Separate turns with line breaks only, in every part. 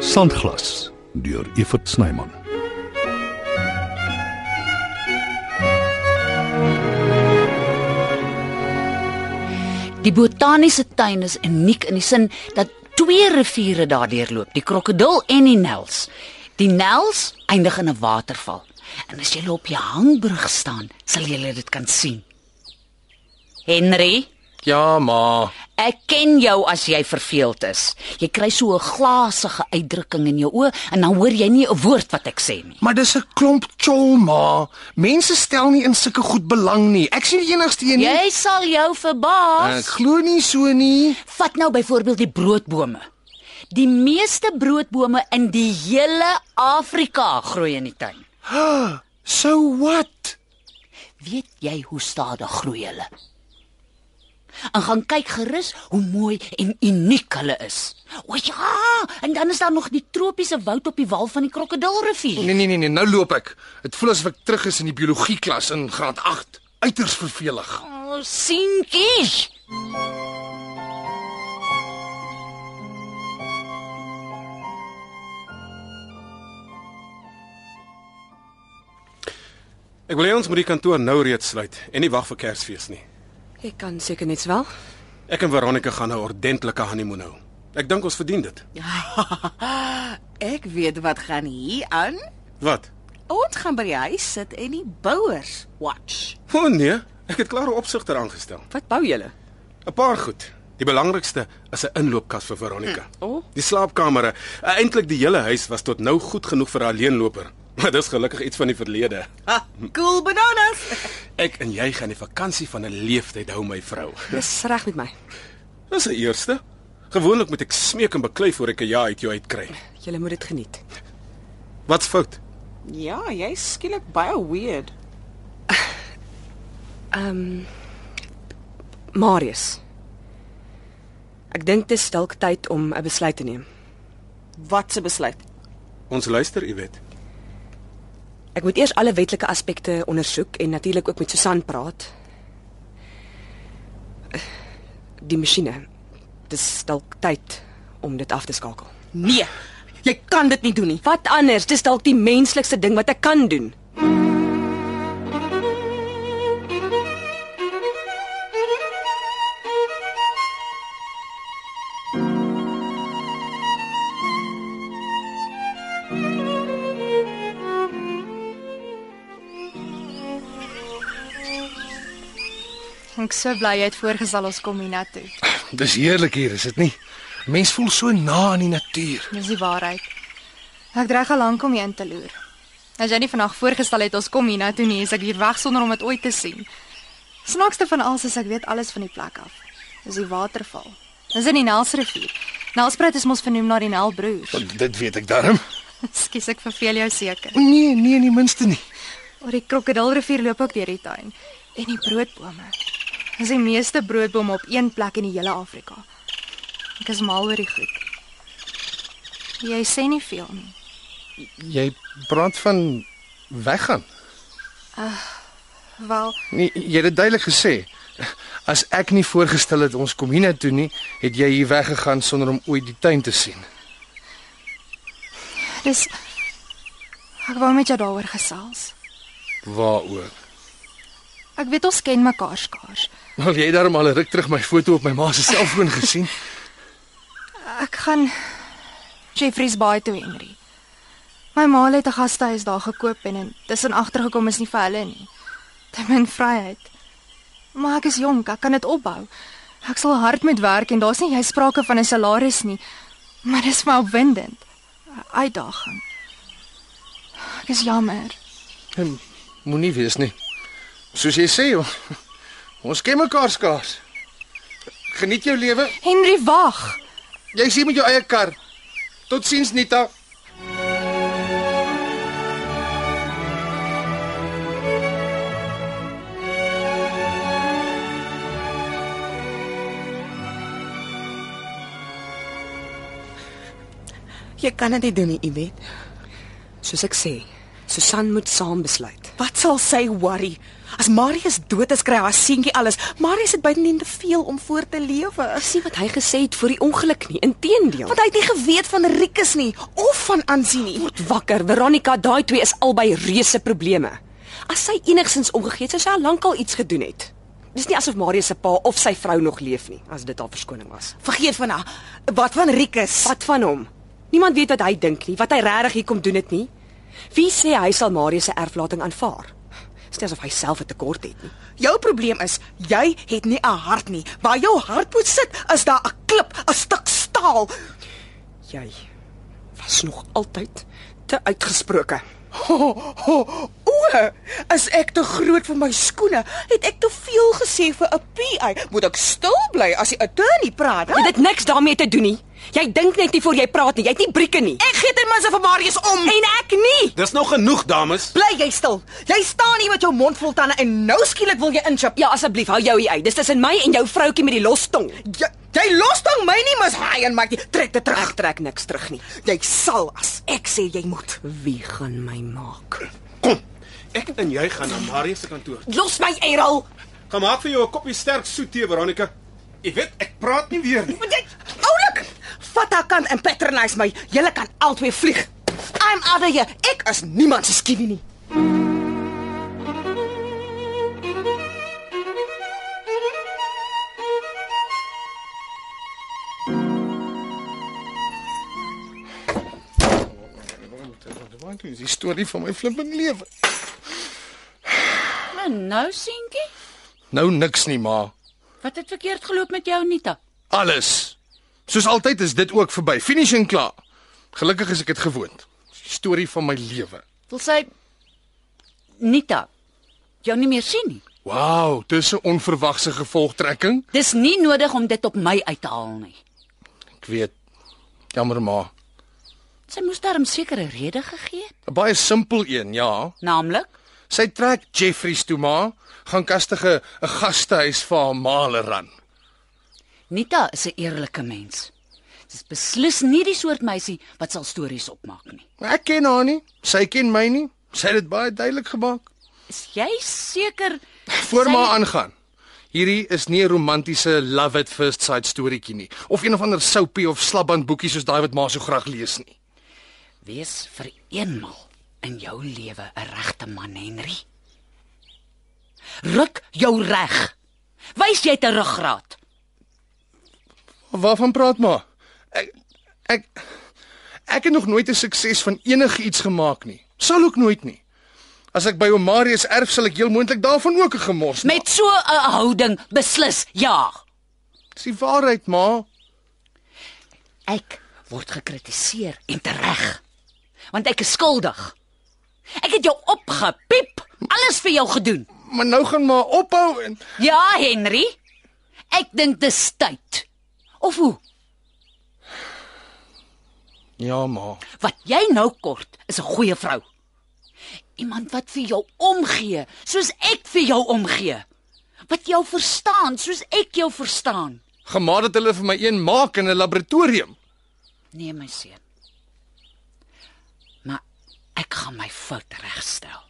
Sandglas deur Evert Snyman.
Die botaniese tuin is uniek in die sin dat twee riviere daardeur loop, die Krokodil en die Nels. Die Nels eindig in 'n waterval. En as jy op die hangbrug staan, sal jy dit kan sien. Henry,
Ja, ma.
ek ken jou as jy verveeld is. Jy kry so 'n glasige uitdrukking in jou oë en dan hoor jy nie 'n woord wat ek sê nie.
Maar dis 'n klomp chol, ma. Mense stel nie in sulke goed belang nie. Ek sien die enigste een nie.
Jy sal jou verbaas.
Ek glo nie so nie.
Vat nou byvoorbeeld die broodbome. Die meeste broodbome in die hele Afrika groei in die tuin.
So what?
Weet jy hoe stadig groei hulle? En gaan kyk gerus hoe mooi en uniek hulle is. O ja, en dan is daar nog die tropiese woud op die wal van die Krokodilrivier.
Nee nee nee nee, nou loop ek. Dit voel asof ek terug is in die biologie klas in graad 8. Uiters vervelig.
O, Sientjie.
Ek wil hê ons moet die kantoor nou reeds sluit en nie wag vir Kersfees nie.
Ek kan seker net wel.
Ek en Veronica gaan 'n ordentlike honeymoon hou. Ek dink ons verdien dit.
Ek weet wat gaan hier aan.
Wat?
Ons gaan by die huis sit en die bouers watch.
O oh, nee, ek het klaar 'n opsigter aangestel.
Wat bou julle?
'n Paar goed. Die belangrikste is 'n inloopkas vir Veronica.
o.
Die slaapkamere, eintlik die hele huis was tot nou goed genoeg vir 'n alleenloper. Maar dis gelukkig iets van die verlede.
Ha, cool bananas.
Ek en jy gaan die vakansie van 'n leeftyd hou, my vrou.
Dis reg met my.
Dis 'n eerste. Gewoonlik moet ek smeek en beklei voor ek 'n ja uit jou uitkry.
Julle moet dit geniet.
Wat's fout?
Ja, jy skielik baie weird.
Ehm, Marius. Ek dink dit is dalk tyd om 'n besluit te neem.
Wat se besluit?
Ons luister, jy weet.
Ek moet eers alle wetlike aspekte ondersoek en natuurlik ook met Susan praat. Eh, Die masjiene. Dis dalk tyd om dit af te skakel.
Nee. Jy kan dit nie doen nie.
Wat anders? Dis dalk die menslikste ding wat ek kan doen.
Ek sou bly jy het voorgestel ons kom hiernatoe.
Dis heerlik hier, is dit nie? Mens voel so na aan die natuur.
Dis die waarheid. Ek dreig al lank om heen te loer. As jy nie vandag voorgestel het ons kom hiernatoe nie, is ek hier weg sonder om dit ooit te sien. Snaakste van alles is ek weet alles van die plek af. Dis die waterval. Dis in die Nelsrivier. Nelspruit is mos vernoem na die Nelbroers.
Dit weet ek darm.
Ekskuus, ek verveel jou seker.
Nee, nee, nie minste nie.
Oor Oh, die Krokodilrivier loop ook deur die tuin en die broodbome. Dis die meeste broodbome op een plek in die hele Afrika. Ek is mal oor die goed. Jy sê nie veel nie.
Jy praat van weggaan.
Wel,
Nee, jy het dit duidelik gesê. As ek nie voorgestel het ons kom hiernatoe nie, het jy hier weggegaan sonder om ooit die tuin te sien.
dis ek wou met jou daaroor gesels.
Waaroor?
Ek weet ons ken mekaar skaars.
Wel jy het darm al 'n ruk terug my foto op my ma se selfoon gesien.
Ek gaan Jeffreys Bay toe, Henry. My ma het 'n gastehuis daar gekoop en intussen agtergekom is nie vir hulle nie. Dit min vryheid. Maar ek is jonk, ek kan dit opbou. Ek sal hard moet werk en daar's nie jy sprake van 'n salaris nie. Maar dis my opwindend. 'n Uitdaging. Ek is jammer.
Hm, Moenie wees nie. Soos jy sê, o- ons ken mekaar skaars. Geniet jou lewe.
Henry, wag.
Jy sien met jou eie kar. Totsiens Nita.
Jy kan dit nie doen nie, Ibet.
Soos ek sê, Susan moet saam besluit. Wat sal sy worry? As Marius dood is, kry haar seentjie alles. Marius het bytendien te veel om voor te lewe.
Dis nie wat hy gesê het voor die ongeluk nie, inteendeel.
Want hy het nie geweet van Rikus nie of van aansien nie.
Word wakker, Veronica, daai twee is albei reuse probleme. As sy enigsins omgegee het, sou sy al lankal iets gedoen het. Dis nie asof Marius se pa of sy vrou nog leef nie, as dit haar verskoning was.
Vergeet van haar. Wat van Rikus?
Wat van hom? Niemand weet wat hy dink nie, wat hy regtig hier kom doen het nie. Wie sê hy sal Marius se erflating aanvaar? Dis nie asof hy self 'n tekort het nie.
Jou probleem is jy het nie 'n hart nie. Waar jou hart moet sit, is daar 'n klip, 'n stuk staal.
Jy was nog altyd te uitgesproke.
Ho, ho, o, as ek te groot vir my skoene, het ek te veel gesê vir 'n PI. Moet ek stil bly as die attorney praat?
Jy het dit niks daarmee te doen nie. Jy dink net nie voor jy praat nie. Jy het nie brieke nie.
Ek gee ten minste vir Marius om.
En ek nie.
Dis nou genoeg, dames.
Bly jy stil. Jy staan hier met jou mond vol tande en nou skielik wil jy inchip.
Ja, asseblief, hou jou hier uit. Dis tussen my en jou vroutjie met die los tong.
Jy, jy los dan my nie, Miss Hyan, maar jy trek dit terug.
Ek trek niks terug nie.
Jy sal as ek sê jy moet.
Wie gaan my maak?
Kom. Ek en jy gaan na Marius se kantoor.
Los my, Errol.
Gaan maak vir jou 'n koppie sterk soet tee, Veronica. Ek weet ek praat nie weer nie.
Want jy oulik. Vat haar kan en patronize my. Julle kan albei vlieg. I'm out of here. Ek is niemand se skiewie nie.
Wat is die storie van my flipping lewe?
En nou seentjie,
Nou niks nie, ma.
wat het verkeerd geloop met jou Nita?
Alles. Soos altyd is dit ook verby. Finish en klaar. Gelukkig is ek dit gewoond. Dis die storie van my lewe.
Wil sy Nita jou nie meer sien nie.
Wow, dis 'n onverwagse gevolgtrekking.
Dis nie nodig om dit op my uit te haal nie.
Ek weet. Jammer maar.
Sy moes daarom sekere rede gegee het,
'n Baie simpel een, ja.
naamlik
Sy trek Jeffries toe maar, gaan kastige 'n gastehuis vir haar maleran.
Nita is 'n eerlike mens. Dis beslis nie die soort meisie wat sal stories opmaak nie.
Ek ken haar nie, sy ken my nie. Sy het dit baie duidelik gemaak.
Is jy seker
Voor
sy-
maar aangaan. Hierdie is nie 'n romantiese love at first sight storieetjie nie of een of ander soapie of slapband boekie soos daai wat ma so graag lees nie.
Wees vir eenmal in jou lewe 'n regte man, Henry. Ruk jou reg. Wys jy 'n ruggraat.
Waarvan praat ma? Ek ek ek het nog nooit 'n sukses van enigiets gemaak nie. Sal ook nooit nie. As ek by Omarius erf sal ek heel moontlik daarvan ook 'n gemors maak.
Met so 'n houding beslis ja.
Dis die waarheid, ma.
Ek word gekritiseer en tereg. Want ek is skuldig. Ek het jou opgepiep, alles vir jou gedoen.
Maar nou gaan ma ophou en
Ja, Henry. Ek dink dis tyd. Of hoe?
Ja, ma.
Wat jy nou kort is 'n goeie vrou. Iemand wat vir jou omgee, soos ek vir jou omgee. Wat jou verstaan, soos ek jou verstaan.
Gemaak dat hulle vir my een maak in 'n laboratorium.
Nee, my seun. Maar ek gaan my fout regstel.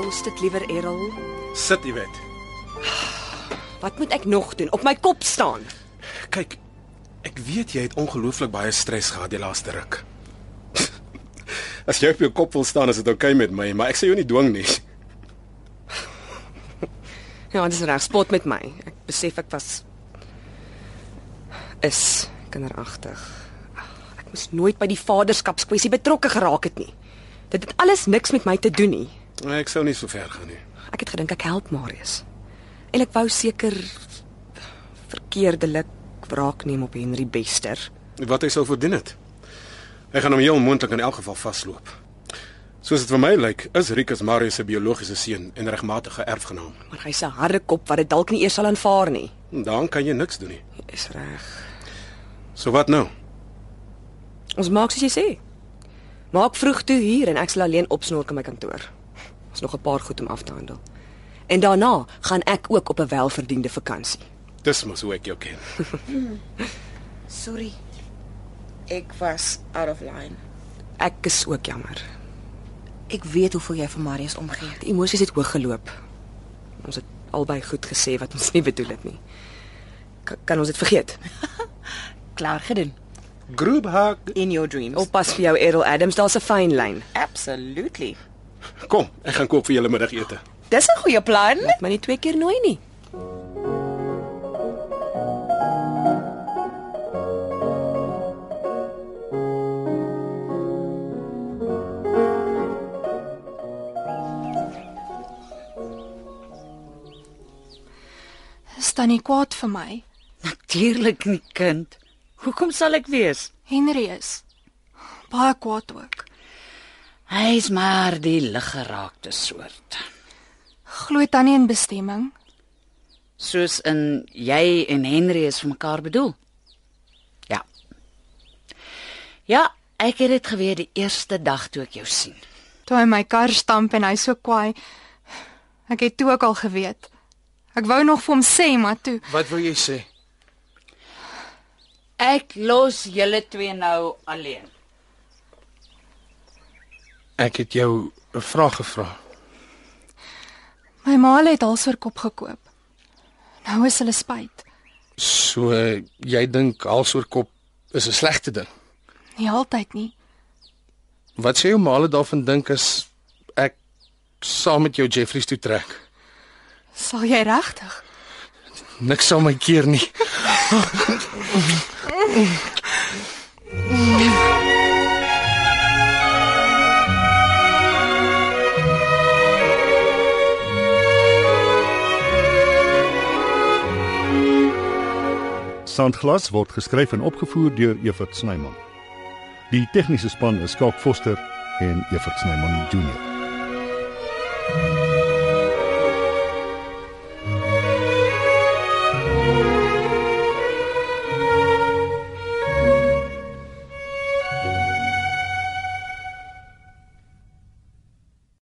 Los dit liewer, Errol.
Sit, jy weet.
Wat moet ek nog doen? Op my kop staan.
Kyk, ek weet jy het ongelooflik baie stres gehad die laaste ruk. As jy op jou kop wil staan, is dit oukei okay met my, maar ek sê jou nie dwing nie.
Ja, dis reg, spot met my. Ek besef ek was is kinderagtig. Ek moes nooit by die vaderskapskwessie betrokke geraak het nie. Dit het alles niks met my te doen nie.
Nee, Ek sou nie so ver gaan nie.
Ek het gedink ek help Marius. En ek wou seker verkeerdelik wraak neem op Henry Bester.
Wat hy sou verdien het. Hy gaan hom heel moontlik in elk geval vasloop. Soos dit vir my lyk, is Rikus Marius se biologiese seun en regmatige erfgenaam.
Maar hy's 'n harde kop wat dit dalk nie eers sal aanvaar nie.
Daaraan kan jy niks doen nie.
Is reg.
So wat nou?
Ons maak soos jy sê. Maak vroeg toe hier en ek sal alleen opsnork in my kantoor. Ons nog 'n paar goed om af te handel. En daarna gaan ek ook op 'n welverdiende vakansie.
Dis mos hoe ek jou ken.
Sorry. Ek was out of line.
Ek is ook jammer.
Ek weet hoeveel jy vir Marius omgee.
Die emosies het hoog geloop. Ons het albei goed gesê wat ons nie bedoel het nie. K kan ons dit vergeet?
Klaar gedoen.
Group hug.
In your dreams.
Oppas vir jou Errol Adams, daar's 'n fyn lyn.
absolutely.
Kom, ek gaan koop vir julle middagete.
Dis 'n goeie plan.
Maar nie twee keer nooi nie.
Is tannie kwaad vir my?
Natuurlik nie, kind. Hoekom sal ek wees?
Henry is baie kwaad ook.
Hy is maar die liggeraakte soort.
Glo tannie in bestemming?
Soos in jy en Henry is vir mekaar bedoel. Ja. Ja, ek het dit geweet die eerste dag toe ek jou sien.
Toe hy my kar stamp en hy so kwaai. Ek het toe ook al geweet. Ek wou nog vir hom sê, maar toe
Wat wil jy sê?
Ek los julle twee nou alleen.
Ek het jou 'n vraag gevra.
my ma het halsoorkop gekoop. Nou is hulle spyt.
So jy dink halsoorkop is 'n slegte ding.
Nie altyd nie.
Wat sê jou maale daarvan dink as ek saam met jou Jeffreys toe trek?
Sal jy regtig?
Niks sal my keer nie.
Sandglas word geskryf en opgevoer deur Evert Snyman. Die tegniese span is Skalk Foster en Evert Snyman Junior.